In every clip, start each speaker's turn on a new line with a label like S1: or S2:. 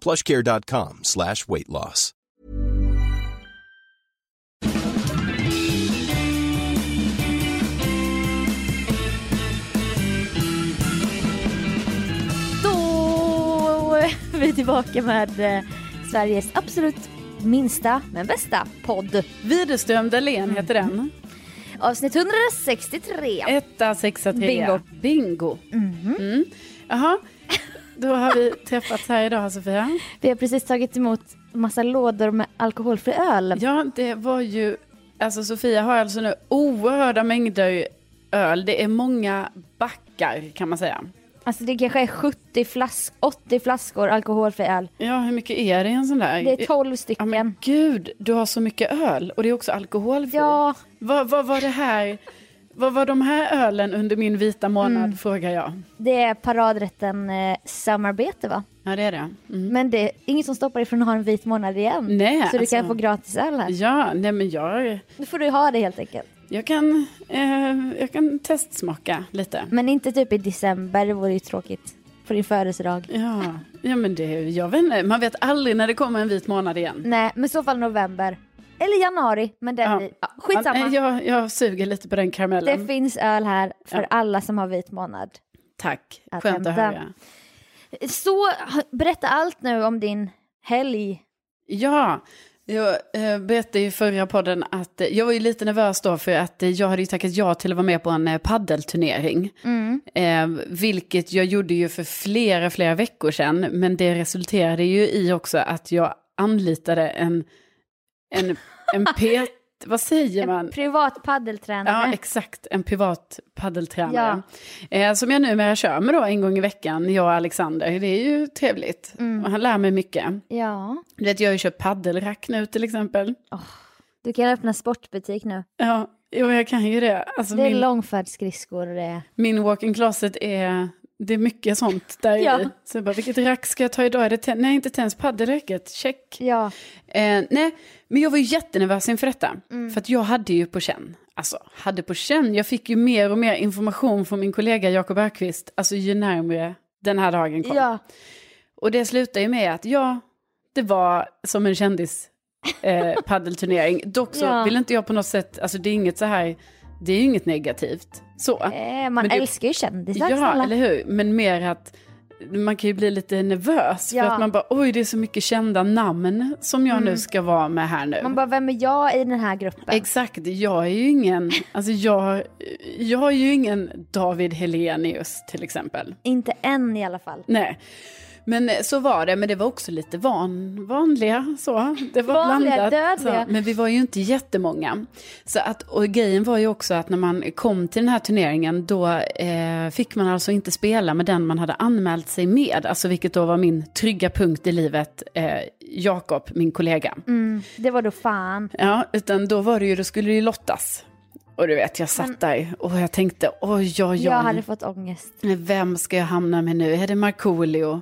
S1: Plushcare.com slash weight loss.
S2: Då är vi tillbaka med eh, Sveriges absolut minsta men bästa podd.
S3: Widerström Dahlén heter den.
S2: Avsnitt 163.
S3: Etta, sexa, trea.
S2: Bingo. Mhm.
S3: Bingo. Mm. Jaha, då har vi träffats här idag Sofia.
S2: Vi har precis tagit emot massa lådor med alkoholfri öl.
S3: Ja, det var ju, alltså Sofia har alltså nu oerhörda mängder öl. Det är många backar kan man säga.
S2: Alltså det kanske är 70 flask 80 flaskor alkoholfri öl.
S3: Ja, hur mycket är det i en sån där?
S2: Det är 12
S3: Ja,
S2: stycken.
S3: men gud, du har så mycket öl och det är också alkoholfri.
S2: Ja,
S3: Vad, vad var det här, vad var de här ölen under min vita månad
S2: Mm.
S3: frågar jag.
S2: det är paradrätten eh, samarbete va?
S3: Ja, det är det. Mm.
S2: Men det är inget som stoppar dig från att ha en vit månad igen.
S3: Nej,
S2: så du kan
S3: alltså.
S2: få gratis öl här.
S3: Ja, nej men jag...
S2: Nu får du ha det helt enkelt.
S3: Jag kan, eh, jag kan testsmaka lite.
S2: Men inte typ i december, det vore ju tråkigt. På din födelsedag.
S3: Ja, ja men det, jag vet inte, man vet aldrig när det kommer en vit månad igen.
S2: Nej, men i så fall november. Eller januari, men den
S3: Ja.
S2: vi... ja, Skitsamma.
S3: Ja, nej, Jag, jag suger lite på den karamellen.
S2: Det finns öl här för
S3: Ja.
S2: alla som har vit månad.
S3: Tack,
S2: Att
S3: skönt att
S2: hämta.
S3: höra.
S2: Så, berätta allt nu om din helg.
S3: Ja, jag eh, berättade i förra podden att eh, jag var ju lite nervös då för att eh, jag hade ju tackat ja till att vara med på en eh, paddelturnering. Eh, vilket jag gjorde ju för flera, flera veckor sedan. Men det resulterade ju i också att jag anlitade en, en, en pet, vad säger man?
S2: En privat
S3: Ja,
S2: paddeltränare.
S3: exakt. En privat paddeltränare. Eh, som jag numera kör med då en gång i veckan, jag och Alexander. Det är ju trevligt. Och han lär mig mycket.
S2: Ja,
S3: Du vet, jag har ju köpt paddelrack nu till exempel.
S2: du kan öppna sportbutik nu.
S3: Ja, jo, jag kan ju det. Alltså,
S2: Det är
S3: min,
S2: långfärdsskridskor eh. och det är...
S3: min walk-in closet är... Det är mycket sånt där
S2: Ja.
S3: i. Så jag bara, vilket rack ska jag ta idag? Är det ten- Nej, inte tennis, paddelracket. Check.
S2: Ja,
S3: Eh, nej, men jag var ju jättenervös inför detta.
S2: Mm.
S3: För att jag hade ju på känn. Alltså, hade på känn. Jag fick ju mer och mer information från min kollega Jakob Ökvist. Alltså ju närmare den här dagen kom.
S2: ja.
S3: Och det slutade ju med att ja, det var som en kändis eh, paddelturnering. Dock så
S2: Ja.
S3: vill inte jag på något sätt, alltså det är inget så här, det är ju inget negativt. Så.
S2: Eh, man
S3: Men det-
S2: älskar ju kändisar
S3: Ja,
S2: snälla.
S3: eller hur? Men mer att man kan ju bli lite nervös
S2: Ja. Mm.
S3: för att man bara oj det är så mycket kända namn som jag nu ska vara med här nu.
S2: Man bara, vem är jag i den här gruppen?
S3: Exakt, jag är ju ingen, alltså jag, jag är ju ingen David Helenius till exempel.
S2: inte än i alla fall.
S3: Nej, men eh, så var det, men det var också lite van, vanliga så. Det var
S2: Vanliga,
S3: blandat.
S2: dödliga.
S3: Så. Men vi var ju inte jättemånga. Så att, och grejen var ju också att när man kom till den här turneringen då eh, fick man alltså inte spela med den man hade anmält sig med. Alltså vilket då var min trygga punkt i livet, eh, Jakob, min kollega.
S2: Mm, det var då fan.
S3: Ja, utan då var det ju, då skulle det ju lottas. Och du vet, jag satt där och jag tänkte, oj, oj, oj.
S2: Jag hade fått ångest.
S3: Vem ska jag hamna med nu? Är det Markoolio?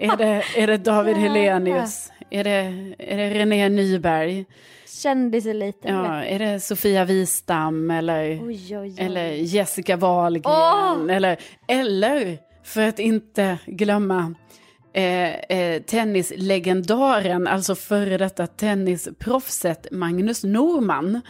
S3: Är det, är det David Helenius? Är det, är det René Nyberg?
S2: Kändiseliten.
S3: Ja, är det Sofia Wistam eller,
S2: Oj, oj, oj.
S3: eller Jessica Wahlgren?
S2: Åh!
S3: Eller, eller, för att inte glömma, eh, eh, tennislegendaren, alltså före detta tennisproffset Magnus Norman,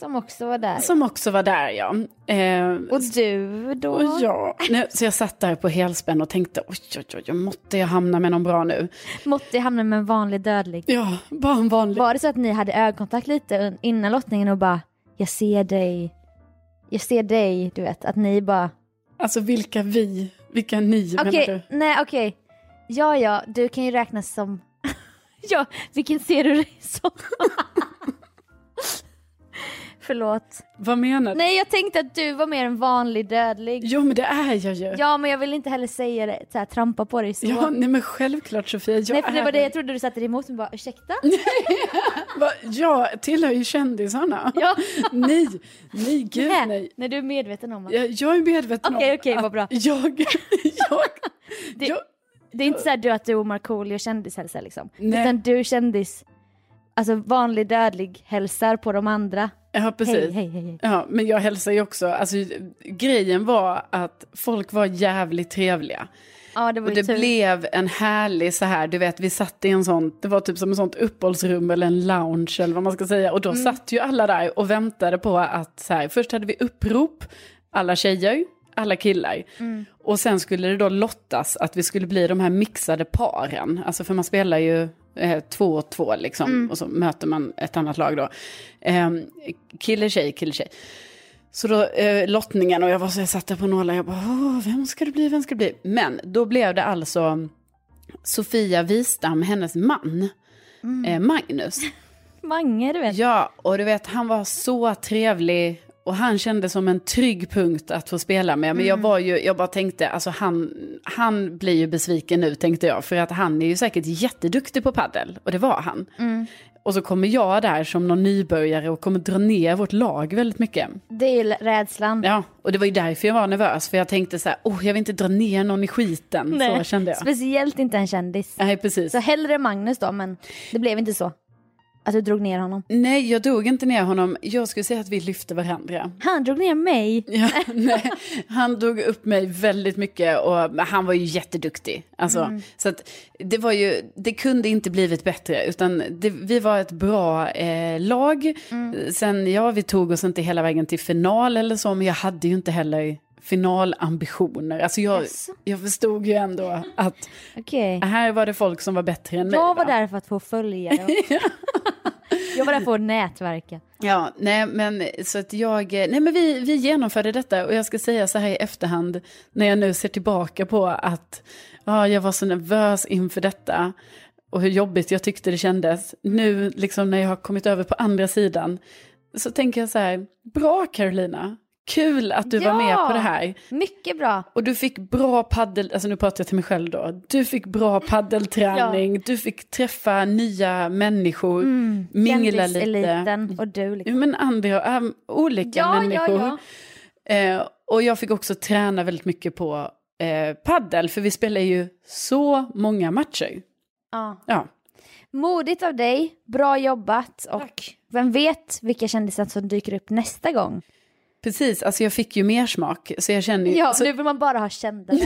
S2: Som också var där.
S3: som också var där ja. Eh,
S2: Och du då?
S3: och ja. Nu, så jag satt där på helspänn och tänkte, oj, oj, oj, måtte jag hamna med någon bra nu.
S2: Måtte hamna med en vanlig dödlig.
S3: Ja, bara en vanlig.
S2: Var det så att ni hade ögonkontakt lite un- innan lottningen och bara jag ser dig, jag ser dig, du vet att ni bara
S3: Alltså vilka vi, vilka ni
S2: okej,
S3: menar du?
S2: nej okej, ja ja, du kan ju räknas som, ja, vilken ser du dig som? Förlåt.
S3: Vad menar du?
S2: Nej jag tänkte att du var mer en vanlig dödlig.
S3: Jo men det är jag ju.
S2: Ja men jag vill inte heller säga det, så här, trampa på dig så.
S3: Ja, nej men självklart Sofia. Jag
S2: nej för det
S3: är-
S2: var det jag trodde du satte dig emot mig bara ursäkta?
S3: Va, jag tillhör ju kändisarna.
S2: Ja.
S3: Nej, nej gud
S2: Nej,
S3: nej.
S2: när du är medveten om att
S3: Jag, jag är medveten
S2: Okej,
S3: om
S2: okej, vad
S3: att
S2: bra.
S3: Jag, jag,
S2: Det-
S3: jag,
S2: Det är inte så här du att du och Markoolio kändishälsar liksom.
S3: Nej.
S2: Utan du kändis, alltså vanlig dödlig hälsar på de andra.
S3: ja precis.
S2: Hej, hej, hej, hej.
S3: Ja, men jag hälsar ju också, alltså grejen var att folk var jävligt trevliga.
S2: Ja det var
S3: Och
S2: ju typ-
S3: det
S2: tur.
S3: blev en härlig så här, du vet vi satt i en sån, det var typ som en sånt uppehållsrum eller en lounge eller vad man ska säga. Och då
S2: Mm.
S3: satt ju alla där och väntade på att så här, först hade vi upprop, alla tjejer, alla killar.
S2: Mm.
S3: Och sen skulle det då lottas att vi skulle bli de här mixade paren. Alltså för man spelar ju eh, två och två liksom.
S2: Mm.
S3: Och så möter man ett annat lag då. Eh, kille, tjej, kille, tjej. Så då eh, lottningen och jag var så jag satt där på nålar, jag bara, "Åh, vem ska det bli, vem ska det bli? Men då blev det alltså Sofia Wistam, hennes man, eh, Magnus.
S2: Mange du vet.
S3: Ja, och du vet han var så trevlig och han kände som en trygg punkt att få spela med. Men jag var ju, jag bara tänkte, alltså han, han blir ju besviken nu tänkte jag. För att han är ju säkert jätteduktig på paddel och det var han. Och så kommer jag där som någon nybörjare och kommer dra ner vårt lag väldigt mycket.
S2: Det är ju l- rädslan.
S3: Ja, och det var ju därför jag var nervös. För jag tänkte så här, oh, jag vill inte dra ner någon i skiten. Så
S2: Nej.
S3: kände jag.
S2: Speciellt inte en kändis.
S3: Nej, precis.
S2: Så hellre Magnus då men det blev inte så. Att du drog ner honom.
S3: Nej, jag drog inte ner honom. Jag skulle säga att vi lyfte varandra.
S2: Han drog ner mig.
S3: Ja, nej. Han drog upp mig väldigt mycket och men han var ju jätteduktig. Alltså,
S2: Mm.
S3: Så att det, var ju, det kunde inte blivit bättre, utan det, vi var ett bra eh, lag.
S2: Mm.
S3: Sen, ja, vi tog oss inte hela vägen till final eller så, men jag hade ju inte heller finalambitioner. Alltså jag,
S2: Jaså?
S3: jag förstod ju ändå att
S2: Okej.
S3: här var det folk som var bättre än mig.
S2: Jag var
S3: va?
S2: där för att få följare. jag var där för att nätverka.
S3: Ja, nej men så att jag, eh, nej men vi, vi genomförde detta och jag ska säga så här i efterhand när jag nu ser tillbaka på att ja, jag var så nervös inför detta och hur jobbigt jag tyckte det kändes. Nu liksom när jag har kommit över på andra sidan så tänker jag så här, bra Carolina, kul att du var med
S2: Ja!
S3: på det här.
S2: Mycket bra.
S3: Och du fick bra paddel, alltså nu pratar jag till mig själv då. Du fick bra paddelträning, du fick träffa nya människor, mingla lite.
S2: Mm,
S3: Mm.
S2: Kändiseliten och du
S3: Ja,
S2: liksom.
S3: men andra, äm, olika
S2: Ja, ja,
S3: människor.
S2: ja.
S3: Eh, och jag fick också träna väldigt mycket på eh, paddel, för vi spelar ju så många matcher.
S2: ja.
S3: Ja,
S2: Modigt av dig, bra jobbat och vem vet vilka kändisar som dyker upp nästa gång.
S3: precis. Alltså jag fick ju mer smak, så jag känner ju...
S2: Ja,
S3: alltså,
S2: nu vill man bara ha kändare.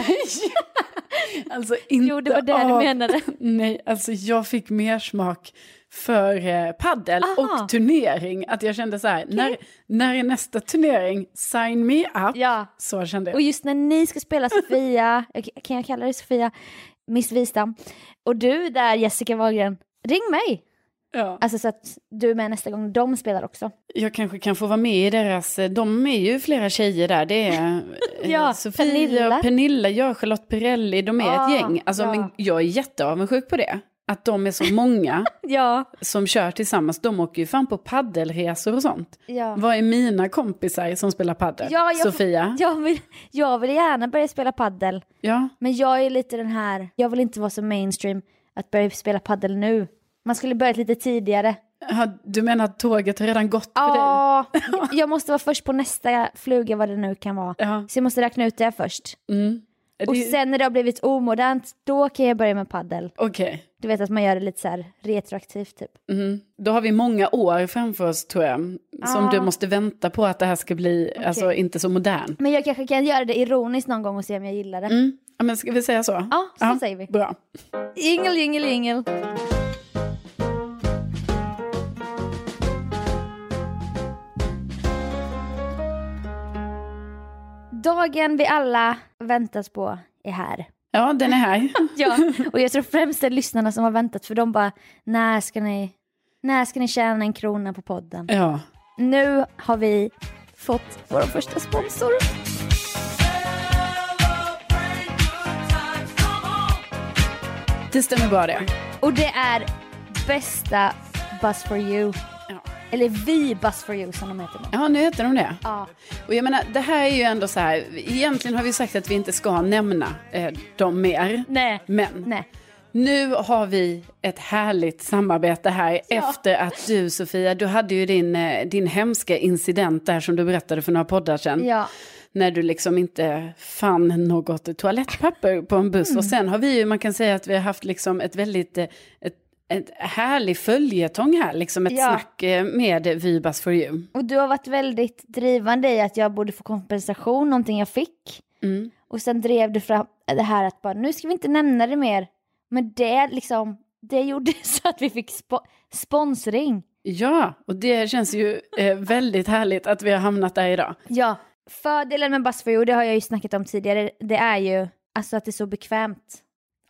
S3: alltså, inte
S2: Jo, det var det du
S3: av-
S2: menade.
S3: Nej, alltså jag fick mer smak för eh, paddel
S2: Aha.
S3: och turnering. Att jag kände så här, när, när är nästa turnering? Sign me up.
S2: Ja.
S3: Så kände jag.
S2: Och just när ni ska spela Sofia, kan jag kalla dig Sofia, Miss Wistam, och du där Jessica Wahlgren, ring mig!
S3: ja.
S2: Alltså så att du är med nästa gång de spelar också.
S3: Jag kanske kan få vara med i deras, eh, de är ju flera tjejer där, det är eh,
S2: Ja,
S3: Sofia,
S2: Pernilla.
S3: Pernilla, jag, Charlotte Perrelli, de är
S2: Ah,
S3: ett gäng. Alltså,
S2: ja.
S3: men jag är jätteavundsjuk på det, att de är så många
S2: Ja,
S3: som kör tillsammans, de åker ju fan på paddelresor och sånt.
S2: ja.
S3: Vad är mina kompisar som spelar paddel?
S2: Ja, jag-
S3: Sofia?
S2: Jag vill, jag vill gärna börja spela paddel.
S3: Ja.
S2: Men jag är lite den här, jag vill inte vara så mainstream att börja spela paddel nu. Man skulle börjat lite tidigare.
S3: Ja, Du menar att tåget har redan gått för dig?
S2: Ja, jag måste vara först på nästa fluga vad det nu kan vara.
S3: Ja.
S2: Så jag måste räkna ut det först.
S3: Är
S2: Och
S3: det-
S2: sen när det har blivit omodernt, då kan jag börja med paddel.
S3: Okej.
S2: Du vet att man gör det lite så här retroaktivt typ.
S3: Mm. Då har vi många år framför oss tror jag. Som
S2: Ah.
S3: du måste vänta på att det här ska bli, alltså inte så modernt.
S2: Men jag kanske kan göra det ironiskt någon gång och se om jag gillar det.
S3: Mm. Ja, men ska vi säga så?
S2: Ja, så säger vi.
S3: Bra.
S2: Ingel, ingel, ingel. Dagen vi alla väntas på är här.
S3: Ja, den är här.
S2: Ja, och jag tror främst det är lyssnarna som har väntat för de bara, när ska ni, när ska ni tjäna en krona på podden?
S3: ja.
S2: Nu har vi fått vår första sponsor.
S3: Det stämmer bra det.
S2: Och det är bästa Buzz for you.
S3: Ja.
S2: Eller vi Buzz for you som de heter nu.
S3: Ja, nu heter de det.
S2: Ja.
S3: Och jag menar, det här är ju ändå så här, egentligen har vi sagt att vi inte ska nämna eh, dem mer.
S2: Nej.
S3: Men
S2: Nej.
S3: nu har vi ett härligt samarbete här efter att du Sofia, du hade ju din, eh, din hemska incident där som du berättade för några poddar sedan.
S2: Ja.
S3: När du liksom inte fann något toalettpapper på en
S2: Mm.
S3: buss. Och sen har vi ju, man kan säga att vi har haft liksom ett väldigt, eh, ett, ett härlig följetong här, liksom ett
S2: Ja.
S3: snack eh, med Vibas for you.
S2: Och du har varit väldigt drivande i att jag borde få kompensation, någonting jag fick.
S3: Mm.
S2: Och sen drev du fram det här att bara, nu ska vi inte nämna det mer. Men det liksom, det gjorde så att vi fick spo- sponsring.
S3: Ja, och det känns ju eh, väldigt härligt att vi har hamnat där idag.
S2: Ja. Fördelen med Buzz for you, det har jag ju snackat om tidigare, det är ju alltså att det är så bekvämt.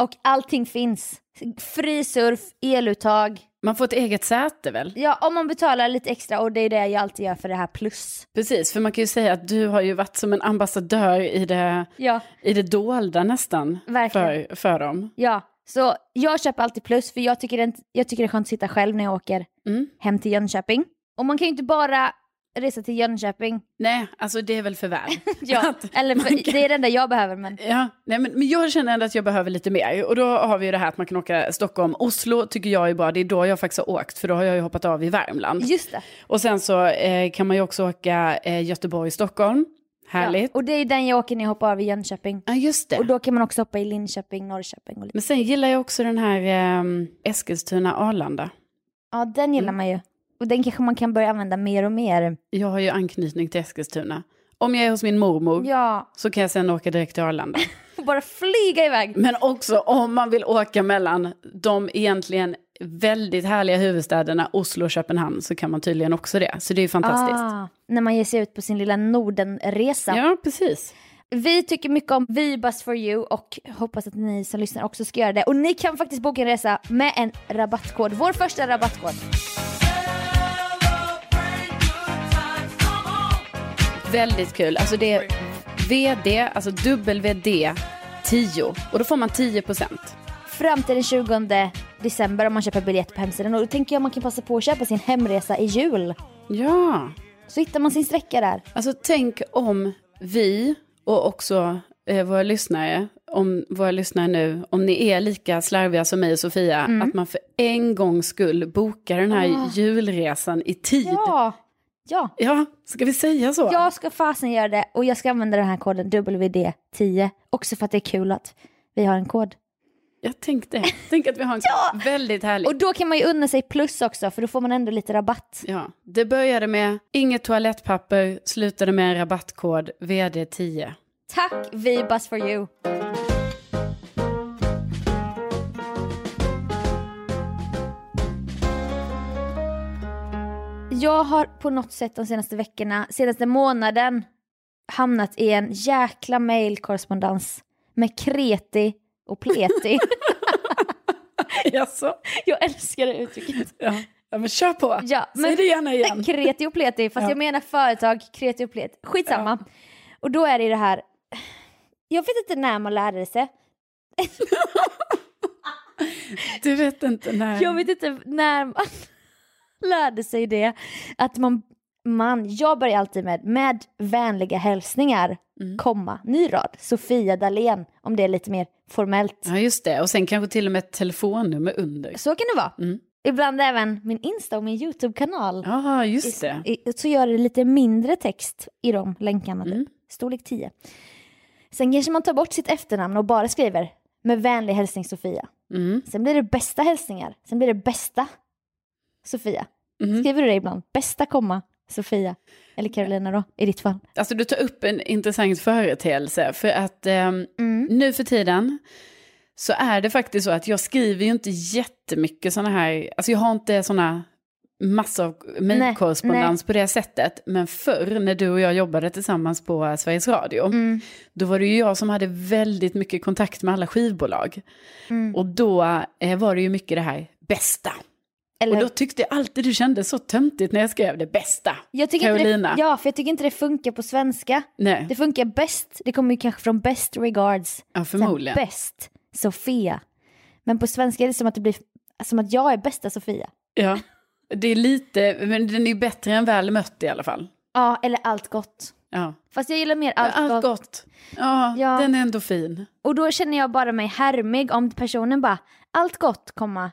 S2: Och allting finns. Fri surf, eluttag.
S3: Man får ett eget säte väl?
S2: Ja, om man betalar lite extra och det är det jag alltid gör för det här plus.
S3: Precis, för man kan ju säga att du har ju varit som en ambassadör i det,
S2: Ja.
S3: i det dolda nästan.
S2: Verkligen.
S3: För, för dem.
S2: Ja, så jag köper alltid plus för jag tycker det, jag tycker det är skönt att sitta själv när jag åker
S3: Mm.
S2: hem till Jönköping. Och man kan ju inte bara resa till Jönköping.
S3: Nej, alltså det är väl för väl.
S2: Ja,
S3: Att
S2: eller
S3: man
S2: för,
S3: kan-
S2: det är det enda jag behöver men
S3: Ja, nej, men, men jag känner ändå att jag behöver lite mer. Och då har vi ju det här att man kan åka Stockholm, Oslo tycker jag är bra. Det är då jag faktiskt har åkt, för då har jag ju hoppat av i Värmland.
S2: just det.
S3: Och sen så eh, kan man ju också åka eh, Göteborg, Stockholm.
S2: Ja.
S3: Härligt. Ja,
S2: Och det är ju den jag åker när jag hoppar av i Jönköping.
S3: just det.
S2: Och då kan man också hoppa i Linköping, Norrköping och lite.
S3: Men sen gillar jag också den här ehm, Eskilstuna-Arlanda.
S2: Ja, den gillar
S3: Mm.
S2: man ju. Och den kanske man kan börja använda mer och mer.
S3: Jag har ju anknytning till Eskilstuna. Om jag är hos min mormor
S2: Ja,
S3: så kan jag sen åka direkt till Arlanda.
S2: och bara flyga iväg.
S3: Men också om man vill åka mellan de egentligen väldigt härliga huvudstäderna Oslo och Köpenhamn så kan man tydligen också det. Så det är ju fantastiskt.
S2: Ah, när man ger sig ut på sin lilla Nordenresa.
S3: Ja, precis.
S2: Vi tycker mycket om Vi Buzz for you och hoppas att ni som lyssnar också ska göra det. Och ni kan faktiskt boka en resa med en rabattkod. Vår första rabattkod.
S3: Väldigt kul. Alltså det är VD, alltså WD 10. Och då får man 10 procent.
S2: Fram till den 20 december om man köper biljett på hemsidan. Och då tänker jag man kan passa på att köpa sin hemresa i jul.
S3: Ja.
S2: Så hittar man sin sträcka där.
S3: Alltså tänk om vi och också eh, våra lyssnare, om våra lyssnare nu, om ni är lika slarviga som mig och Sofia,
S2: Mm.
S3: att man för en gång skull bokar den här julresan i tid.
S2: Ah. Ja, ja.
S3: Ja, ska vi säga så?
S2: Jag ska fasen göra det och jag ska använda den här koden WD10. Också för att det är kul att vi har en kod.
S3: Jag tänkte, tänk att vi har en
S2: Ja.
S3: väldigt härlig...
S2: Och då kan man ju unna sig plus också för då får man ändå lite rabatt.
S3: Ja, det började med inget toalettpapper, slutade med en rabattkod VD10.
S2: Tack vi Buzz for you. Jag har på något sätt de senaste veckorna, senaste månaden hamnat i en jäkla mailkorrespondens med kreti och pleti.
S3: Jaså?
S2: jag älskar det uttrycket.
S3: Ja. ja, men kör på.
S2: Ja,
S3: Säg det gärna igen.
S2: Kreti och pleti, fast
S3: Ja.
S2: jag menar företag, kreti och pleti. Skitsamma. Och då är det ju det här, jag vet inte när man lärde sig,
S3: Du vet inte när...
S2: Jag vet inte när man lärde sig det. Att man, man, jag börjar alltid med, med vänliga hälsningar,
S3: Mm.
S2: komma, ny rad, Sofia Dalén, om det är lite mer formellt.
S3: Ja, just det. Och sen kanske till och med ett telefonnummer under.
S2: Så kan det vara.
S3: Mm.
S2: Ibland även min Insta och min YouTube-kanal.
S3: Ja, just det. Mm.
S2: I- Så gör det lite mindre text i de länkarna, typ. storlek 10. Sen kanske man tar bort sitt efternamn och bara skriver med vänlig hälsning Sofia.
S3: Mm.
S2: Sen blir det bästa hälsningar. Sen blir det bästa Sofia.
S3: Mhm.
S2: Skriver du det ibland? Bästa komma Sofia. Eller Carolina då, i ditt fall.
S3: Alltså du tar upp en intressant företeelse för att ehm,
S2: Mm.
S3: nu för tiden så är det faktiskt så att jag skriver ju inte jättemycket sådana här, alltså jag har inte sådana massor av mejlkorrespondens på det sättet. Men förr när du och jag jobbade tillsammans på eh, Sveriges Radio,
S2: Mm.
S3: då var det ju jag som hade väldigt mycket kontakt med alla skivbolag.
S2: Mm.
S3: Och då eh, var det ju mycket det här bästa.
S2: Eller,
S3: Och då tyckte jag alltid det kändes så töntigt när jag skrev det bästa.
S2: jag tycker
S3: Carolina.
S2: Inte det, ja, för jag tycker inte det funkar på svenska.
S3: Nej,
S2: Det funkar bäst, det kommer ju kanske från best regards.
S3: ja,
S2: Så här,
S3: förmodligen.
S2: Bäst Sofia. Men på svenska är det som att det blir som att jag är bästa Sofia.
S3: Ja, det är lite, men den är ju bättre än väl mött i alla fall.
S2: Ja, eller allt gott.
S3: Ja.
S2: Fast jag gillar mer allt,
S3: Allt, gott.
S2: gott.
S3: Ja,
S2: Ja.
S3: den är ändå fin.
S2: Och då känner jag bara mig härmig om personen bara allt gott, komma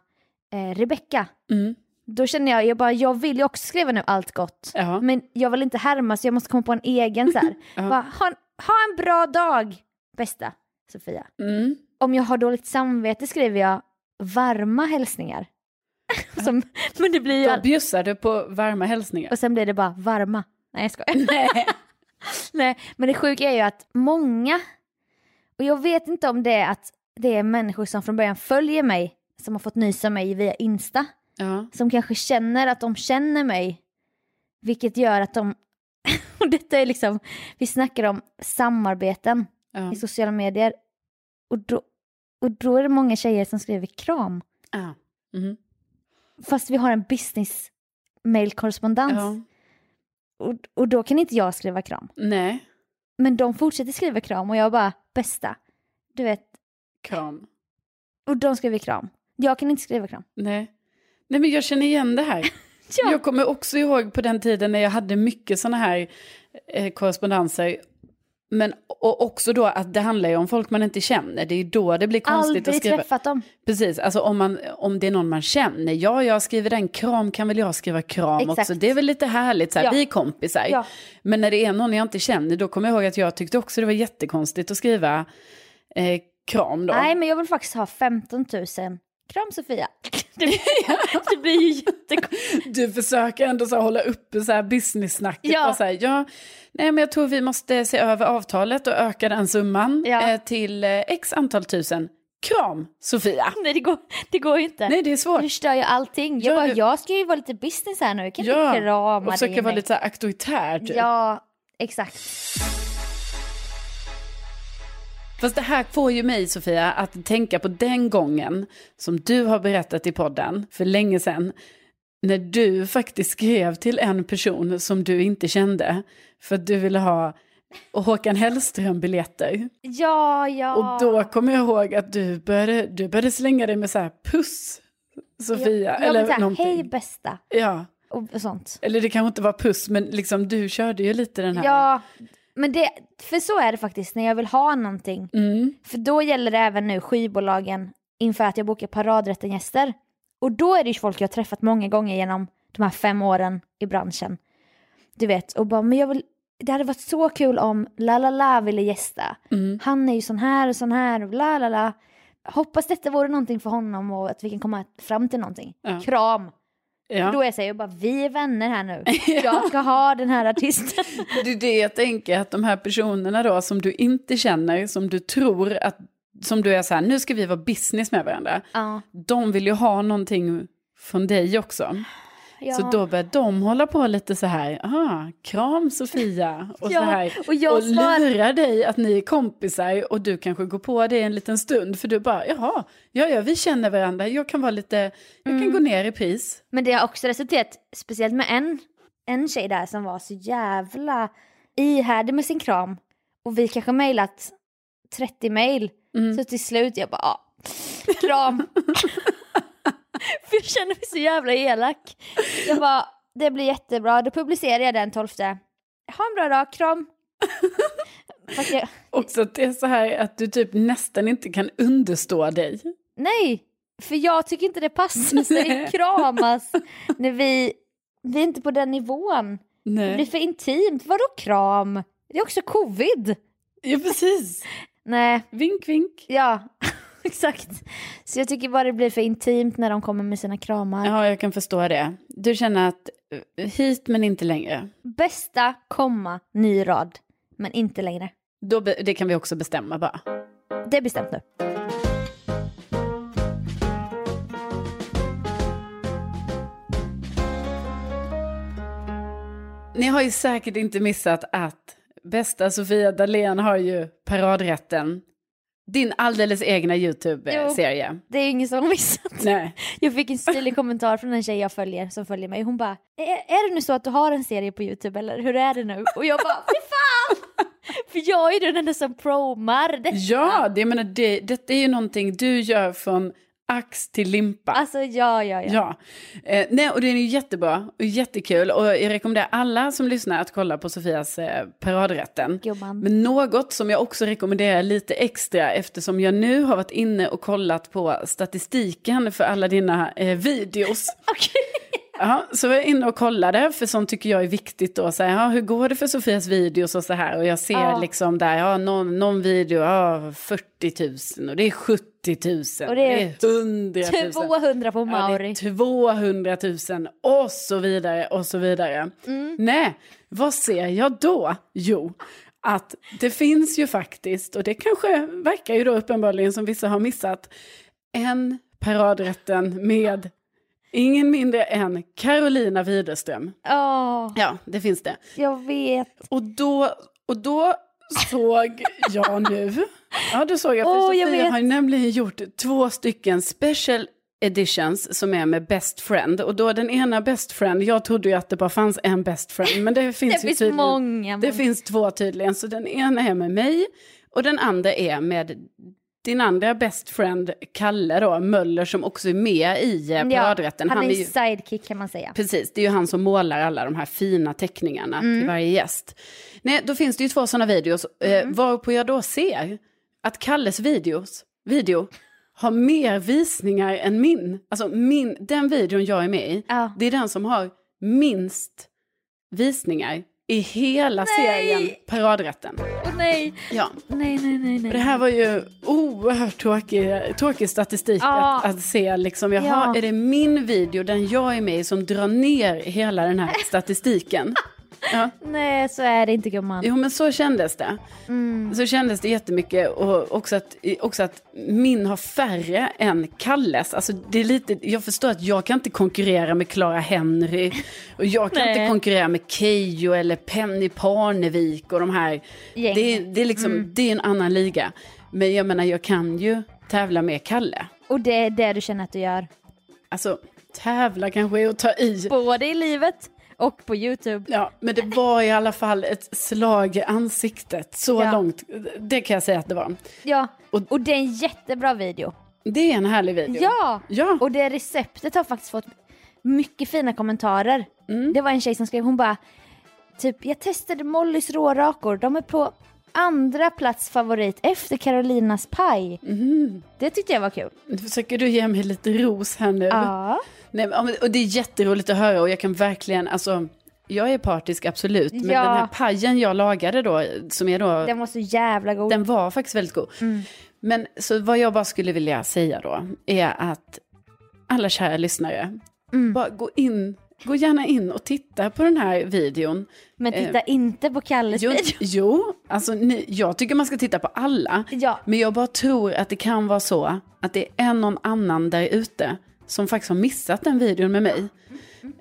S2: eh, Rebecka.
S3: Mm.
S2: Då känner jag, jag bara jag vill ju också skriva nu allt gott.
S3: Ja.
S2: Men jag vill inte härma så jag måste komma på en egen så här. bara, ha, en, ha en bra dag bästa Sofia.
S3: Mm.
S2: Om jag har dåligt samvete skriver jag varma hälsningar. Som, men det blir ju
S3: Då
S2: all...
S3: bjussar du på varma hälsningar.
S2: Och sen blir det bara varma. Nej jag skojar. Nej. Nej men det sjuka är ju att många, och jag vet inte om det är att det är människor som från början följer mig, som har fått nys om mig via Insta,
S3: Ja.
S2: som kanske känner att de känner mig. Vilket gör att de, och detta är liksom, vi snackar om samarbeten
S3: Ja.
S2: i sociala medier. Och då, och då är det många tjejer som skriver kram.
S3: Ja. Mm.
S2: Fast vi har en business mailkorrespondens.
S3: Ja.
S2: Och, och då kan inte jag skriva kram.
S3: Nej,
S2: Men de fortsätter skriva kram och jag bara bästa. Du vet,
S3: kram.
S2: och de skriver kram. Jag kan inte skriva kram.
S3: Nej. Nej, men jag känner igen det här.
S2: Ja.
S3: Jag kommer också ihåg på den tiden när jag hade mycket sådana här eh, korrespondenser. Men och också då att det handlar ju om folk man inte känner. Det är ju då det blir konstigt att
S2: Aldrig
S3: skriva.
S2: träffat dem.
S3: Precis, alltså om, man, om det är någon man känner, ja jag skriver den, kram kan väl jag skriva kram
S2: Exakt.
S3: också, det är väl lite härligt, så här,
S2: Ja.
S3: vi är kompisar.
S2: Ja.
S3: Men när det är någon jag inte känner, då kommer jag ihåg att jag tyckte också det var jättekonstigt att skriva eh, kram då.
S2: Nej men jag vill faktiskt ha 15 000. Kram Sofia. Det blir, det blir ju jättekonstigt.
S3: Du försöker ändå så här, hålla uppe så här, business-snacket,
S2: Ja.
S3: bara så här, ja, nej men jag tror vi måste se över avtalet och öka den summan
S2: Ja.
S3: eh, till eh, x antal tusen, kram Sofia.
S2: Nej det går, det går ju inte.
S3: Nej det är svårt.
S2: Du förstör ju allting. Jag,
S3: Ja,
S2: bara,
S3: du-
S2: jag ska ju vara lite business här nu. Jag kan inte krama
S3: och försöka
S2: dig.
S3: vara lite så här auktoritär typ.
S2: Ja, exakt.
S3: Fast det här får ju mig, Sofia, att tänka på den gången som du har berättat i podden för länge sedan. När du faktiskt skrev till en person som du inte kände för att du ville ha Håkan Hellström-biljetter.
S2: Ja, ja.
S3: Och då kommer jag ihåg att du började, du började slänga dig med så här puss, Sofia.
S2: jag, jag
S3: eller
S2: vill säga,
S3: någonting.
S2: Hej bästa.
S3: Ja,
S2: Och, och sånt.
S3: eller det kanske inte var puss, men liksom du körde ju lite den här.
S2: Ja, men det, för så är det faktiskt när jag vill ha någonting.
S3: Mm.
S2: För då gäller det även nu skivbolagen inför att jag bokar paradrätten-gäster. Och då är det ju folk jag har träffat många gånger genom de här fem åren i branschen. Du vet, och bara, men jag vill, det hade varit så kul om La La La ville gästa.
S3: Mm.
S2: Han är ju sån här och sån här och la la la. Hoppas detta vore någonting för honom och att vi kan komma fram till någonting.
S3: Ja.
S2: Kram!
S3: Ja.
S2: Då är jag så här, jag bara, vi är vänner här nu. Jag ska ha den här artisten.
S3: Det är det jag tänker, att de här personerna då som du inte känner, som du tror att, som du är så här, nu ska vi vara business med varandra.
S2: ja,
S3: De vill ju ha någonting från dig också.
S2: ja.
S3: Så då börjar de hålla på lite så här, ah, kram Sofia, och
S2: Ja,
S3: så här.
S2: och jag svarar-
S3: lurar dig att ni är kompisar och du kanske går på det en liten stund för du bara, jaha, ja, ja, vi känner varandra, jag kan vara lite, jag
S2: Mm.
S3: kan gå ner i pris.
S2: Men det har också resulterat, speciellt med en, en tjej där som var så jävla ihärdig med sin kram. Och vi kanske mejlat 30 mejl.
S3: Mm.
S2: Så till slut jag bara, ja, kram. För jag känner mig så jävla elak. Jag bara, det blir jättebra, då publicerar jag den 12. Ha en bra dag, kram. Fast jag,
S3: Också att det är så här att du typ nästan inte kan understå dig.
S2: nej, för jag tycker inte det passar sig
S3: Nej.
S2: kramas. När vi, vi är inte på den nivån. Det
S3: Nej.
S2: blir för intimt. Vadå kram? Det är också covid.
S3: Ja, precis.
S2: Nej,
S3: Vink, vink.
S2: ja, exakt. Så jag tycker bara det blir för intimt när de kommer med sina kramar.
S3: Ja, jag kan förstå det. Du känner att eh, hit men inte längre.
S2: Bästa, komma, ny rad. Men inte längre.
S3: Då be- det kan vi också bestämma bara.
S2: Det är bestämt nu.
S3: Ni har ju säkert inte missat att bästa Sofia Dalén har ju paradrätten. Din alldeles egna YouTube-serie.
S2: Det är ju ingen som har missat.
S3: Nej.
S2: Jag fick en stilig kommentar från en tjej jag följer som följer mig. Hon bara, är, är det nu så att du har en serie på Youtube eller hur är det nu? Och jag bara, fy fan! För jag är ju den enda som promar det.
S3: Ja, det, jag menar, det, detta är ju någonting du gör från ax till limpa.
S2: Alltså ja, ja, ja.
S3: Ja, eh, nej, och den är ju jättebra och jättekul och jag rekommenderar alla som lyssnar att kolla på Sofias eh, paradrätten.
S2: Gumman.
S3: Men något som jag också rekommenderar lite extra eftersom jag nu har varit inne och kollat på statistiken för alla dina eh, videos. Ja, så var jag inne och kollade, för sånt tycker jag är viktigt då. Så här, ja, hur går det för Sofias videos och så här? Och jag ser
S2: Ja.
S3: liksom där, ja, någon, någon video, ja, 40 000 och det är 70 000
S2: Och det är
S3: 100 000.
S2: 200 Typ på
S3: Ja,
S2: Mauri.
S3: det är 200 000 och så vidare och så vidare. Nej, vad ser jag då? Jo, att det finns ju faktiskt, och det kanske verkar ju då uppenbarligen som vissa har missat, en paradrätten med ingen mindre än Carolina Widerström.
S2: Ja,
S3: Ja, det finns det.
S2: jag vet.
S3: Och då, och då såg jag nu, ja då såg jag, för
S2: Åh, jag
S3: Sofia
S2: vet.
S3: har ju nämligen gjort två stycken special editions som är med best friend. Och då den ena best friend, jag trodde ju att det bara fanns en best friend, men det finns
S2: Det
S3: ju
S2: finns
S3: tydligen,
S2: många,
S3: Det
S2: många.
S3: finns två tydligen, så den ena är med mig och den andra är med din andra best friend, Kalle då, Möller, som också är med i eh, paradrätten.
S2: han, är
S3: ju-
S2: ju sidekick kan man säga.
S3: Precis, det är ju han som målar alla de här fina teckningarna till varje gäst. Nej, då finns det ju två sådana videos, eh, varpå jag då ser att Kalles videos, video har mer visningar än min. Alltså min, den videon jag är med i,
S2: Ja.
S3: det är den som har minst visningar i hela serien Paradrätten.
S2: Åh nej,
S3: Ja.
S2: nej, nej, nej. nej.
S3: Och Det här var ju oerhört tråkig, tråkig statistik
S2: Ja.
S3: att, att se. Liksom, jaha,
S2: Ja.
S3: är det min video, den jag är med i, som drar ner hela den här statistiken? Ja.
S2: Nej, så är det inte gumman.
S3: Jo, men så kändes det.
S2: Mm.
S3: Så kändes det jättemycket. Och också att, också att min har färre än Kalles. Alltså, det är lite, jag förstår att jag kan inte konkurrera med Clara Henry. Och jag kan
S2: Nej.
S3: inte konkurrera med Keyyo eller Penny Parnevik och de här.
S2: Gänget.
S3: Det är, det, är liksom,
S2: Mm.
S3: det är en annan liga. Men jag menar, jag kan ju tävla med Kalle.
S2: Och det är det du känner att du gör.
S3: Alltså, tävla kanske är att ta i.
S2: Både i livet och på Youtube.
S3: Ja, men det var i alla fall ett slag i ansiktet. Så
S2: Ja.
S3: långt, det kan jag säga att det var.
S2: Ja, och,
S3: Och-
S2: det är en jättebra video.
S3: Det är en härlig video.
S2: Ja!
S3: Ja.
S2: Och det receptet har faktiskt fått mycket fina kommentarer. Det var en tjej som skrev, hon bara typ jag testade Mollys rårakor, de är på andra plats favorit efter Carolinas paj. Det tyckte jag var kul.
S3: Nu försöker du ge mig lite ros här nu.
S2: Ja.
S3: Nej, men- ja, men- och det är jätteroligt att höra och jag kan verkligen, alltså, jag är partisk absolut, men
S2: Ja.
S3: den här pajen jag lagade då, som är då,
S2: Den
S3: den,
S2: var Mm. så jävla god.
S3: var faktiskt väldigt god. Men så vad jag bara skulle vilja säga då, är att alla kära lyssnare,
S2: Mm.
S3: bara gå in, gå gärna in och titta på den här videon.
S2: Men titta inte på Kalles
S3: eh, Jo,
S2: video.
S3: jo alltså, ni, jag tycker man ska titta på alla.
S2: Ja.
S3: Men jag bara tror att det kan vara så att det är en någon annan där ute som faktiskt har missat den videon med mig.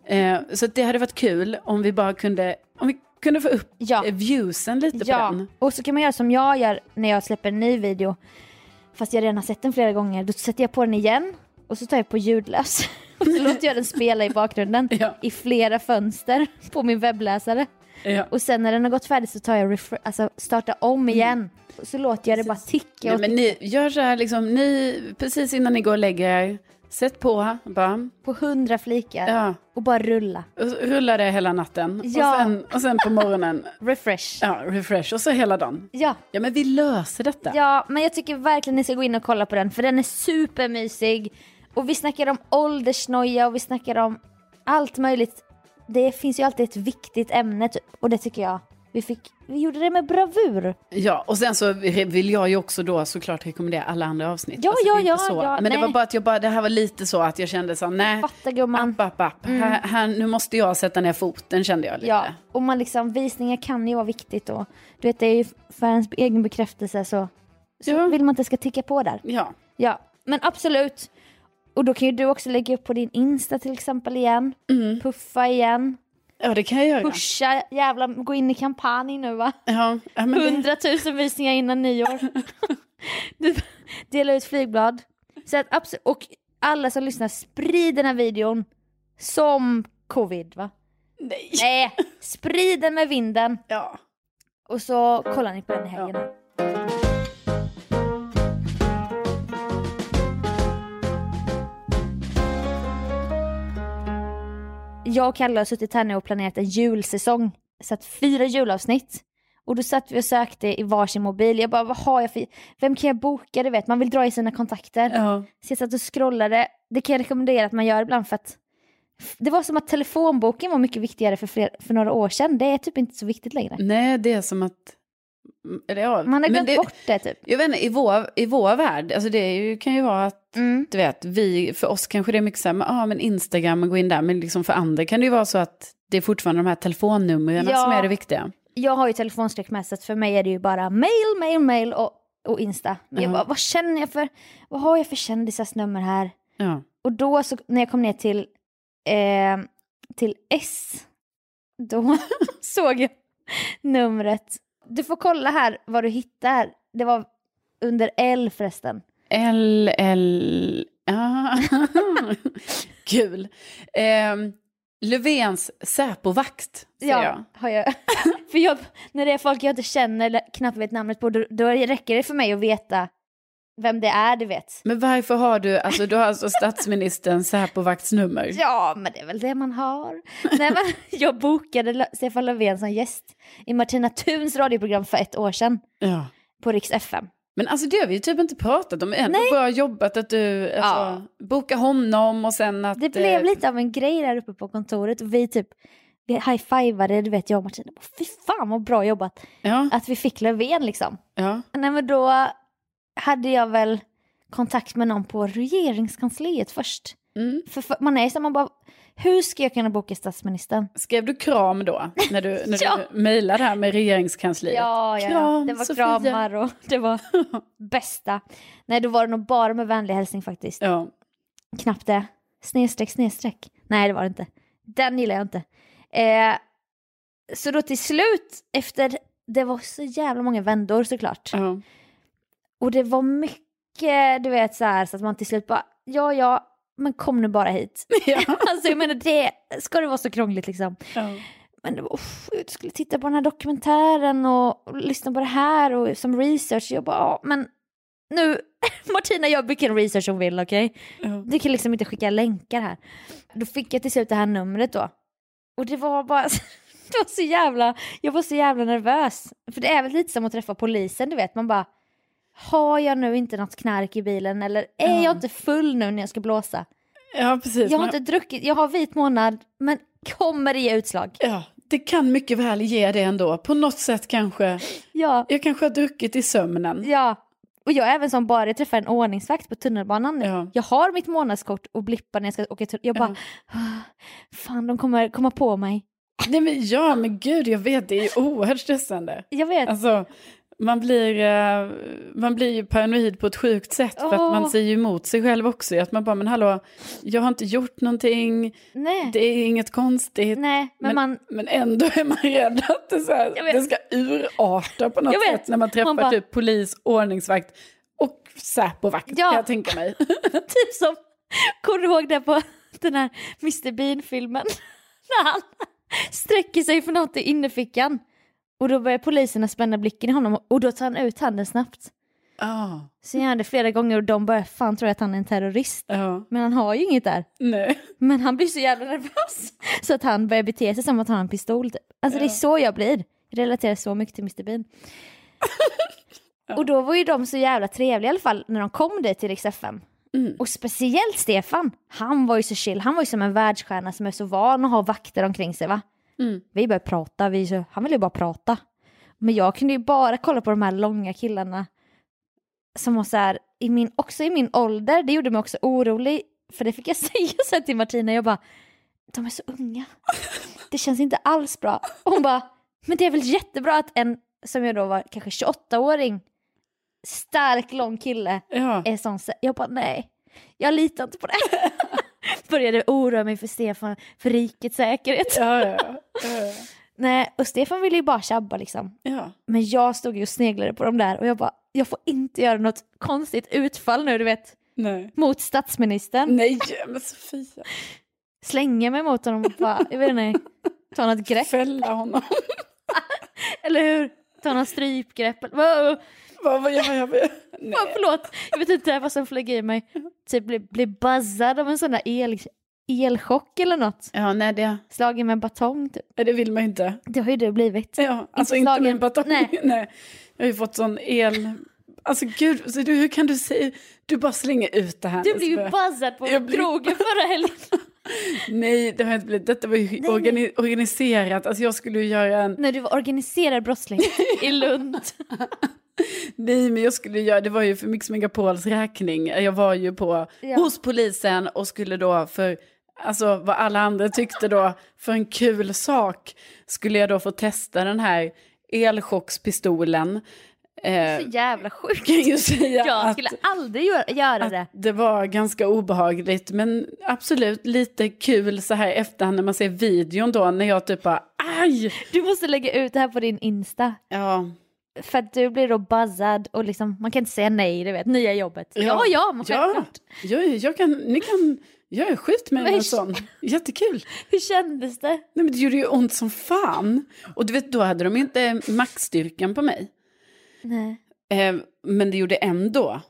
S3: Eh, så att det hade varit kul om vi bara kunde, om vi kunde få upp
S2: Ja.
S3: eh, viewsen lite på
S2: Ja,
S3: den.
S2: och så kan man göra som jag gör när jag släpper en ny video. Fast jag redan har sett den flera gånger. Då sätter jag på den igen och så tar jag på ljudlös. Och så låter jag den spela i bakgrunden
S3: Ja.
S2: i flera fönster på min webbläsare.
S3: Ja.
S2: Och sen när den har gått färdigt så tar jag refre- alltså starta om igen. Och så låter jag det bara ticka.
S3: Mm.
S2: Och
S3: Nej, men ni gör så här, liksom, ni, precis innan ni går och lägger er, sätt på, bam,
S2: På hundra flikar.
S3: ja,
S2: Och bara rulla.
S3: och så rullar det hela natten.
S2: Ja.
S3: Och, sen, och sen på morgonen,
S2: Refresh.
S3: ja, refresh, och så hela dagen.
S2: Ja.
S3: Ja, men vi löser detta.
S2: Ja, men jag tycker verkligen ni ska gå in och kolla på den för den är supermysig. Och vi snackar om åldersnoja och vi snackar om allt möjligt. Det finns ju alltid ett viktigt ämne typ och det tycker jag Vi, fick, vi gjorde det med bravur.
S3: Ja, och sen så vill jag ju också då såklart rekommendera alla andra avsnitt. Alltså,
S2: Ja,
S3: det är
S2: ja,
S3: inte
S2: ja,
S3: så.
S2: ja,
S3: Men
S2: nej.
S3: det var bara att jag bara, det här var lite så att jag kände så, nej,
S2: Fatta gumman.
S3: app, app, app. Här, här, nu måste jag sätta ner foten kände jag lite.
S2: Mm. Ja, och man liksom, visningar kan ju vara viktigt då. Du vet, det är ju för ens egen bekräftelse så, så
S3: Ja.
S2: vill man att det ska ticka på där.
S3: ja.
S2: Ja, men absolut. Och då kan ju du också lägga upp på din Insta till exempel igen.
S3: Mm.
S2: Puffa igen.
S3: Ja, det kan jag göra.
S2: Pusha, jävla, gå in i kampanj nu va.
S3: Ja, ja, men det,
S2: Hundratusen visningar innan nyår. du, dela ut flygblad. Så att absolut, och alla som lyssnar, sprid den här videon. Som covid va?
S3: nej.
S2: Nej, sprid den med vinden.
S3: Ja.
S2: Och så kollar ni på den i helgen. Jag och Kalle har suttit här nu och planerat en julsäsong. Så att fyra julavsnitt. Och då satt vi och sökte i varsin mobil. Jag bara, vad har jag för... Vem kan jag boka? Du vet, man vill dra i sina kontakter.
S3: Ja.
S2: Så jag satt och scrollade. Det kan jag rekommendera att man gör ibland för att det var som att telefonboken var mycket viktigare för, fler, för några år sedan. Det är typ inte så viktigt längre.
S3: Nej, det är som att... Mm, Eller ja.
S2: Man har
S3: men
S2: glömt
S3: det,
S2: bort det typ.
S3: Jag vet inte, i vår, i vår värld, alltså det är ju, kan ju vara att
S2: Mm.
S3: du vet, vi, för oss kanske det är mycket så här, men, ah, men Instagram och gå in där, men liksom för andra kan det ju vara så att det är fortfarande de här telefonnumren
S2: Ja.
S3: som är det viktiga.
S2: Jag har ju telefonskräck med så att för mig är det ju bara mail, mail, mail och, och Insta. Men jag
S3: Ja.
S2: bara, vad känner jag för, vad har jag för kändisars nummer här?
S3: Ja.
S2: Och då så, när jag kom ner till, eh, till S, då såg jag numret. Du får kolla här vad du hittar. Det var under L förresten.
S3: L, L, ah. kul. Ehm, Löfvens Säpovakt, säger
S2: Ja,
S3: jag.
S2: har jag. för jag, när det är folk jag inte känner eller knappt vet namnet på, då, då räcker det för mig att veta vem det är, du vet.
S3: Men varför har du, alltså du har alltså statsministerns Säpovaktsnummer?
S2: Ja, men det är väl det man har. Nej, men jag bokade Lö- Stefan Löfven som gäst i Martina Thuns radioprogram för ett år sedan
S3: Ja.
S2: på Rix FM.
S3: Men alltså det har vi ju typ inte pratat om än. Nej. Bra jobbat att du alltså, bokar honom och sen att...
S2: Det blev
S3: eh,
S2: lite av en grej där uppe på kontoret och vi typ vi high-fivade, du vet jag och Martina. Bara, Fy fan vad bra jobbat
S3: Ja,
S2: att vi fick Löfven liksom.
S3: ja.
S2: Nej men då hade jag väl kontakt med någon på regeringskansliet först.
S3: Mm.
S2: För, för man är ju så här, man bara, hur ska jag kunna boka statsministern?
S3: Skrev du kram då, när du, när
S2: Ja.
S3: du mejlade här med regeringskansliet?
S2: Ja, ja, ja.
S3: Kram,
S2: det var
S3: Sofia.
S2: kramar och det var bästa. Nej, då var det nog bara med vänlig hälsning faktiskt.
S3: Ja.
S2: Knappt det. Snedstreck, snedstreck. Nej, det var det inte. Den gillar jag inte. Eh, så då till slut, efter, det var så jävla många vändor såklart.
S3: ja.
S2: Och det var mycket, du vet så här, så att man till slut bara, ja, ja, men kom nu bara hit.
S3: ja.
S2: alltså jag menar, det, ska det vara så krångligt liksom?
S3: ja.
S2: men det var, uff, jag skulle titta på den här dokumentären och, och lyssna på det här och som research. Jag bara, ja, men nu, Martina gör vilken research hon vill, okej?
S3: ja.
S2: Du kan liksom inte skicka länkar här. Då fick jag till slut det här numret då. Och det var bara, det var så jävla, jag var så jävla nervös. För det är väl lite som att träffa polisen, du vet, man bara, har jag nu inte något knark i bilen eller är jag inte full nu när jag ska blåsa?
S3: ja precis.
S2: Jag har
S3: Men-
S2: inte druckit, jag har vit månad, men kommer det ge utslag?
S3: Ja, det kan mycket väl ge det ändå. På något sätt kanske.
S2: Ja.
S3: Jag kanske har druckit i sömnen.
S2: Ja, och jag är även som bara jag träffar en ordningsvakt på tunnelbanan nu.
S3: Ja.
S2: Jag har mitt månadskort och blippar när jag ska åka tunnel. Jag bara, "Ah, fan de kommer komma på mig.
S3: Nej men ja, men gud jag vet, det är ju oerhört stressande.
S2: Jag vet,
S3: Alltså, man blir, eh, man blir ju paranoid på ett sjukt sätt för
S2: Åh.
S3: att man säger ju emot sig själv också. Att man bara, men hallå, jag har inte gjort någonting,
S2: nej.
S3: det är inget konstigt.
S2: nej, men, man,
S3: men ändå är man rädd att det, så
S2: Jag
S3: här,
S2: vet.
S3: det ska urarta på något
S2: Jag vet.
S3: sätt när man träffar
S2: Man bara-
S3: typ polis, ordningsvakt och Säpovakt
S2: Ja.
S3: kan jag tänka mig.
S2: typ som, kommer du ihåg det på den här Mr Bean-filmen? När han sträcker sig för något i innerfickan. Och då börjar poliserna spänna blicken i honom och då tar han ut handen snabbt.
S3: Ja,
S2: Så gör han det flera gånger och de börjar fan tro att han är en terrorist.
S3: ja,
S2: Men han har ju inget där.
S3: nej.
S2: Men han blir så jävla nervös så att han börjar bete sig som att han har en pistol. typ. Alltså det är så jag blir. Jag relaterar så mycket till Mr Bean. Och då var ju de så jävla trevliga i alla fall när de kom dit till Rix FM. Och speciellt Stefan, han var ju så chill, han var ju som en världsstjärna som är så van att ha vakter omkring sig va. Vi började prata, vi, så- han ville ju bara prata. Men jag kunde ju bara kolla på de här långa killarna som var så här, i min, också i min ålder, det gjorde mig också orolig. För det fick jag säga så här till Martina, jag bara, de är så unga. Det känns inte alls bra. Och hon bara, men det är väl jättebra att en som jag då var kanske 28-åring, stark lång kille,
S3: Ja.
S2: är sån. sä- Jag bara nej, jag litar inte på det. Började oroa mig för Stefan, för rikets säkerhet.
S3: Ja, ja, ja.
S2: Nej, och Stefan ville ju bara tjabba liksom.
S3: ja.
S2: Men jag stod ju och sneglade på dem där och jag bara, jag får inte göra något konstigt utfall nu du vet,
S3: Nej.
S2: mot statsministern.
S3: Nej, men Sofia.
S2: Slänger mig mot honom och bara, jag vet inte, ta något grepp,
S3: Fälla honom.
S2: eller hur? Ta något strypgrepp. Wow.
S3: Vad vad gör jag? Vad- Nej.
S2: Fan, förlåt, jag vet inte vad som flög i mig. Typ bli, bli buzzad av en sån där el, elchock eller något.
S3: Ja, nej det,
S2: Slagen med en batong typ.
S3: det vill man ju inte.
S2: Det har ju du blivit.
S3: Ja, alltså inte,
S2: slagen.
S3: med en batong.
S2: Nej.
S3: Nej. Jag har ju fått sån el... Alltså gud, så du, hur kan du säga... Du bara slänger ut det här.
S2: Du blev ju
S3: Lisbeth.
S2: buzzad på
S3: Jag blev-
S2: krogen förra helgen.
S3: Nej, det har jag inte blivit. Detta var ju organi- organiserat. Alltså jag skulle ju göra en...
S2: När du var organiserad brottsling i Lund.
S3: Nej, men jag skulle ju göra... Det var ju för Mix Megapols räkning. Jag var ju på...
S2: Ja.
S3: Hos polisen och skulle då för... Alltså vad alla andra tyckte då, för en kul sak skulle jag då få testa den här elchockspistolen. Eh,
S2: Så jävla sjukt.
S3: kan ju säga
S2: Jag
S3: att,
S2: skulle aldrig göra, göra det.
S3: att det var ganska obehagligt men absolut lite kul så här efterhand när man ser videon då när jag typ bara aj!
S2: Du måste lägga ut det här på din Insta.
S3: Ja,
S2: För att du blir då buzzad och liksom, man kan inte säga nej, du vet, nya jobbet. Ja, ja, men
S3: ja,
S2: självklart.
S3: jag, jag kan, ni kan, jag är skjut mig med
S2: Men-
S3: en sån, jättekul.
S2: Hur kändes det?
S3: Nej men det gjorde ju ont som fan. Och du vet då hade de inte maxstyrkan på mig.
S2: Nej.
S3: Eh, men det gjorde ändå.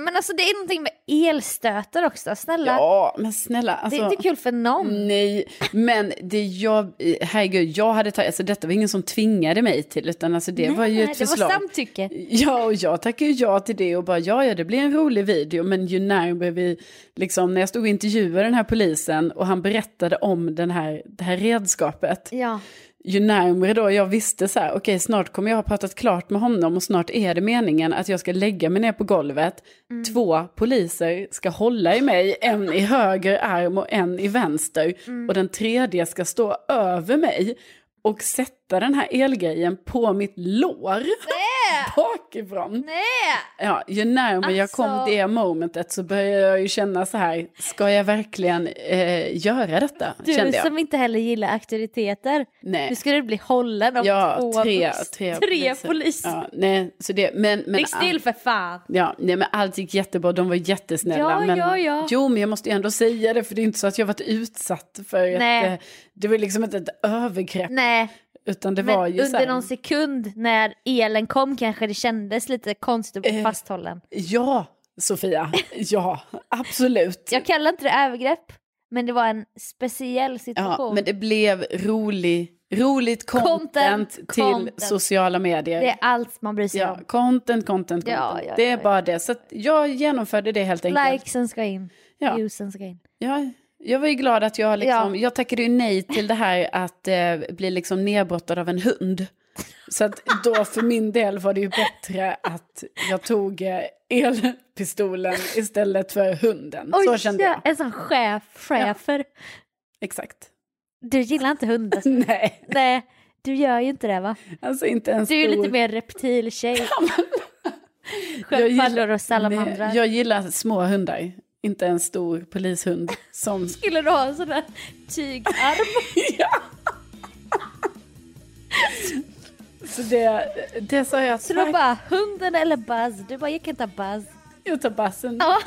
S2: Men alltså det är någonting med elstötar också, snälla.
S3: Ja, men snälla.
S2: det
S3: Alltså,
S2: är inte kul för någon.
S3: Nej, men det jag, herregud, jag hade tagit, alltså detta var ingen som tvingade mig till, utan alltså det var ju
S2: Nej,
S3: ett
S2: det
S3: förslag.
S2: var samtycke.
S3: Ja, och jag tackar ju ja till det och bara ja, ja, det blir en rolig video, men ju närmare vi, liksom när jag stod och intervjuade den här polisen och han berättade om den här, det här redskapet,
S2: Ja.
S3: ju närmare då jag visste så här, okej, snart kommer jag ha pratat klart med honom och snart är det meningen att jag ska lägga mig ner på golvet,
S2: Mm.
S3: två poliser ska hålla i mig, en i höger arm och en i vänster,
S2: Mm.
S3: och den tredje ska stå över mig och sätta den här elgrejen på mitt lår bakifrån.
S2: Nej!
S3: Ja, ju närmare jag kom
S2: Alltså-
S3: det momentet så började jag ju känna så här, ska jag verkligen eh, göra detta?
S2: Du
S3: kände jag.
S2: som inte heller gillar auktoriteter.
S3: Nej.
S2: Nu ska du bli hållen av
S3: Ja,
S2: två
S3: tre,
S2: vux-
S3: tre,
S2: tre poliser.
S3: Ja, nej, så det, men, men,
S2: Ligg still för fan.
S3: Ja, nej, men allt gick jättebra, de var jättesnälla.
S2: Ja,
S3: men,
S2: ja, ja.
S3: Jo, men jag måste ju ändå säga det, för det är inte så att jag varit utsatt för
S2: Nej.
S3: ett... eh, Det var liksom inte ett övergrepp,
S2: Nej,
S3: utan det
S2: men
S3: var ju så
S2: under
S3: här,
S2: någon sekund när elen kom kanske det kändes lite konstigt
S3: Eh,
S2: och fasthållen.
S3: Ja, Sofia, ja, absolut.
S2: Jag kallar inte det övergrepp, men det var en speciell
S3: Ja,
S2: situation.
S3: men det blev rolig, roligt content,
S2: Content,
S3: till
S2: content.
S3: sociala medier.
S2: Det är allt man bryr sig
S3: Ja,
S2: om.
S3: content, content, content.
S2: Ja, ja,
S3: det är
S2: ja, ja.
S3: bara det. Så att jag genomförde det helt enkelt.
S2: Likesen ska in,
S3: Ja.
S2: viewsen ska in.
S3: Ja, jag var ju glad att jag liksom,
S2: Ja.
S3: jag tackade ju nej till det här att eh, bli liksom nedbrottad av en hund. Så att då för min del var det ju bättre att jag tog eh, elpistolen istället för hunden. Så
S2: Oj,
S3: kände
S2: ja,
S3: jag.
S2: En sån chef, chefer.
S3: Exakt.
S2: Du gillar inte hundar.
S3: Nej,
S2: Nej, du gör ju inte det va?
S3: alltså inte en
S2: Du är ju
S3: stor...
S2: lite mer reptiltjej.
S3: Jag gillar-
S2: Sköldpaddor och salamandrar.
S3: Nej, Jag gillar små hundar, inte en stor polishund som...
S2: Skulle du ha en sån där tygarm?
S3: Så det, det sa jag,
S2: Så då bara hunden eller Buzz? Du bara jag kan ta Buzz.
S3: jag tar bassen.
S2: Ja.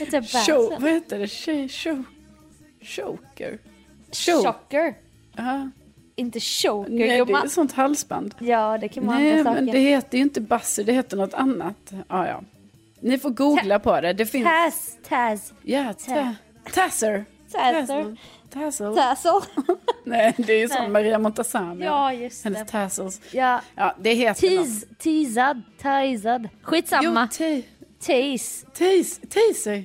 S2: Jag tar Buzz.
S3: Show, vad heter det? Tjej- Show... Choker? Show.
S2: Chocker.
S3: Ja.
S2: Inte choker
S3: Nej, det är
S2: gumman.
S3: ett sånt halsband.
S2: Ja det kan vara
S3: Nej,
S2: andra
S3: men det
S2: saker.
S3: heter ju inte Bassu, det heter något annat. Ja, ja. Ni får googla på det. Det finns...
S2: Taz, Taz,
S3: Ja, ta- Tasser.
S2: Tazzer,
S3: Tassel.
S2: Tassel.
S3: Nej, det är ju som Maria Montazami.
S2: Ja, just
S3: Hennes
S2: det.
S3: tassels.
S2: Ja.
S3: Ja, det heter något.
S2: Tease, teasad, teasad.
S3: Jo,
S2: Skitsamma.
S3: te-
S2: Tease.
S3: tease.
S2: Tease!
S3: Teaser.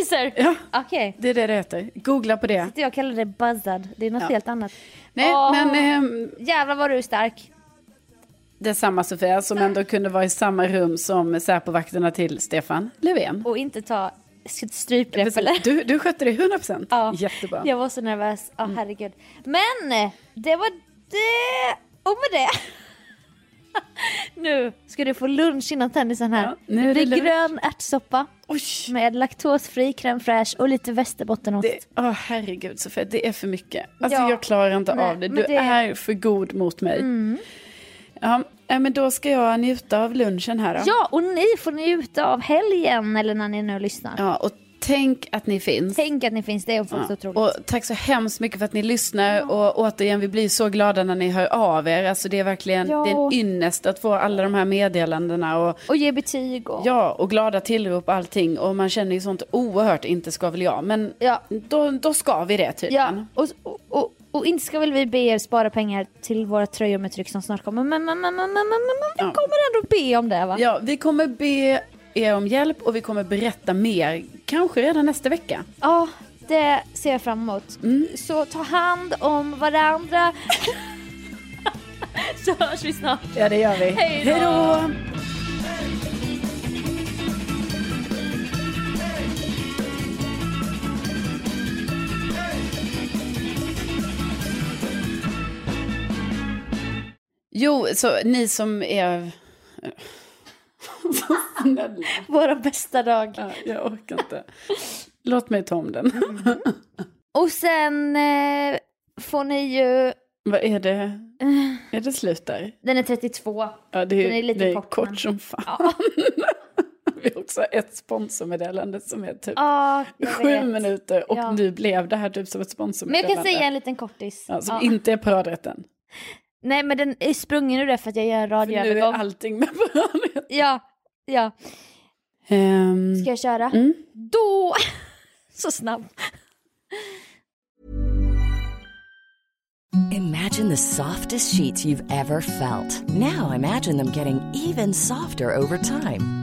S2: Taser!
S3: Ja.
S2: Okej.
S3: Det är det det heter. Googla på det.
S2: Sitter Jag kallar det buzzad. Det är något
S3: Ja.
S2: helt annat.
S3: Nej,
S2: Åh.
S3: men ehm,
S2: Jävlar vad du är stark.
S3: detsamma Sofia, som ändå kunde vara i samma rum som Säpovakterna till Stefan Löfven.
S2: Och inte ta strypgrepp eller?
S3: Du, du skötte det 100%.
S2: Ja.
S3: Jättebra. Mm.
S2: Jag var så nervös. Ja, herregud. Men det var det. Och med det. nu ska du få lunch innan tennisen här.
S3: Ja, nu
S2: det
S3: är det
S2: är
S3: lunch.
S2: grön ärtsoppa
S3: Oj!
S2: med laktosfri crème fraîche och lite västerbottenost.
S3: Det, åh, herregud Sofia, det är för mycket. Alltså
S2: Ja.
S3: jag klarar inte
S2: Nej,
S3: av det.
S2: men
S3: Du
S2: det- Mm.
S3: är för god mot mig. Ja, äh, men då ska jag njuta av lunchen här då.
S2: Ja, och ni får njuta av helgen eller när ni nu lyssnar.
S3: Ja, och tänk att ni finns.
S2: Tänk att ni finns, det är faktiskt
S3: Ja.
S2: otroligt.
S3: Och tack så hemskt mycket för att ni lyssnar och återigen vi blir så glada när ni hör av er. Alltså det är verkligen
S2: Ja.
S3: det är en ynnest att få alla de här meddelandena och
S2: Och ge betyg och...
S3: ja och glada tillrop och allting och man känner ju sånt oerhört inte ska väl jag men
S2: Ja.
S3: då, då ska vi det tydligen.
S2: Ja, och, och, och, och inte ska väl vi be er spara pengar till våra tröjor med tryck som snart kommer. Men, men, men, men, men, men, men vi
S3: Ja.
S2: kommer ändå be om det va?
S3: Ja, vi kommer be er om hjälp och vi kommer berätta mer, kanske redan nästa vecka.
S2: Ja, det ser jag fram emot.
S3: Mm.
S2: Så ta hand om varandra. Så hörs vi snart.
S3: Ja, det gör vi.
S2: Hej då!
S3: Hej då! Jo, så ni som är... Snälla.
S2: Våra bästa dag.
S3: Ja, jag orkar inte. Låt mig ta om den.
S2: Och sen eh, får ni ju...
S3: Vad är det? Är det slut där?
S2: Den är 32.
S3: Ja, det är,
S2: Den är lite
S3: det är
S2: kort,
S3: kort,
S2: men-
S3: som fan. Vi har också ett sponsormeddelande som är typ
S2: Ja, jag
S3: sju
S2: vet.
S3: minuter och
S2: Ja.
S3: nu blev det här typ som ett
S2: Men jag
S3: sponsormeddelande.
S2: kan säga en liten kortis.
S3: ja, som
S2: Ja.
S3: inte är paradrätten.
S2: Nej men den är sprungen ur det för att jag gör en
S3: För nu är
S2: radioövergång.
S3: allting med paradrätten.
S2: Ja, ja.
S3: Ehm,
S2: Ska jag köra?
S3: Mm.
S2: Då! Så snabb.
S4: Imagine the softest sheets you've ever felt. Now imagine them getting even softer over time.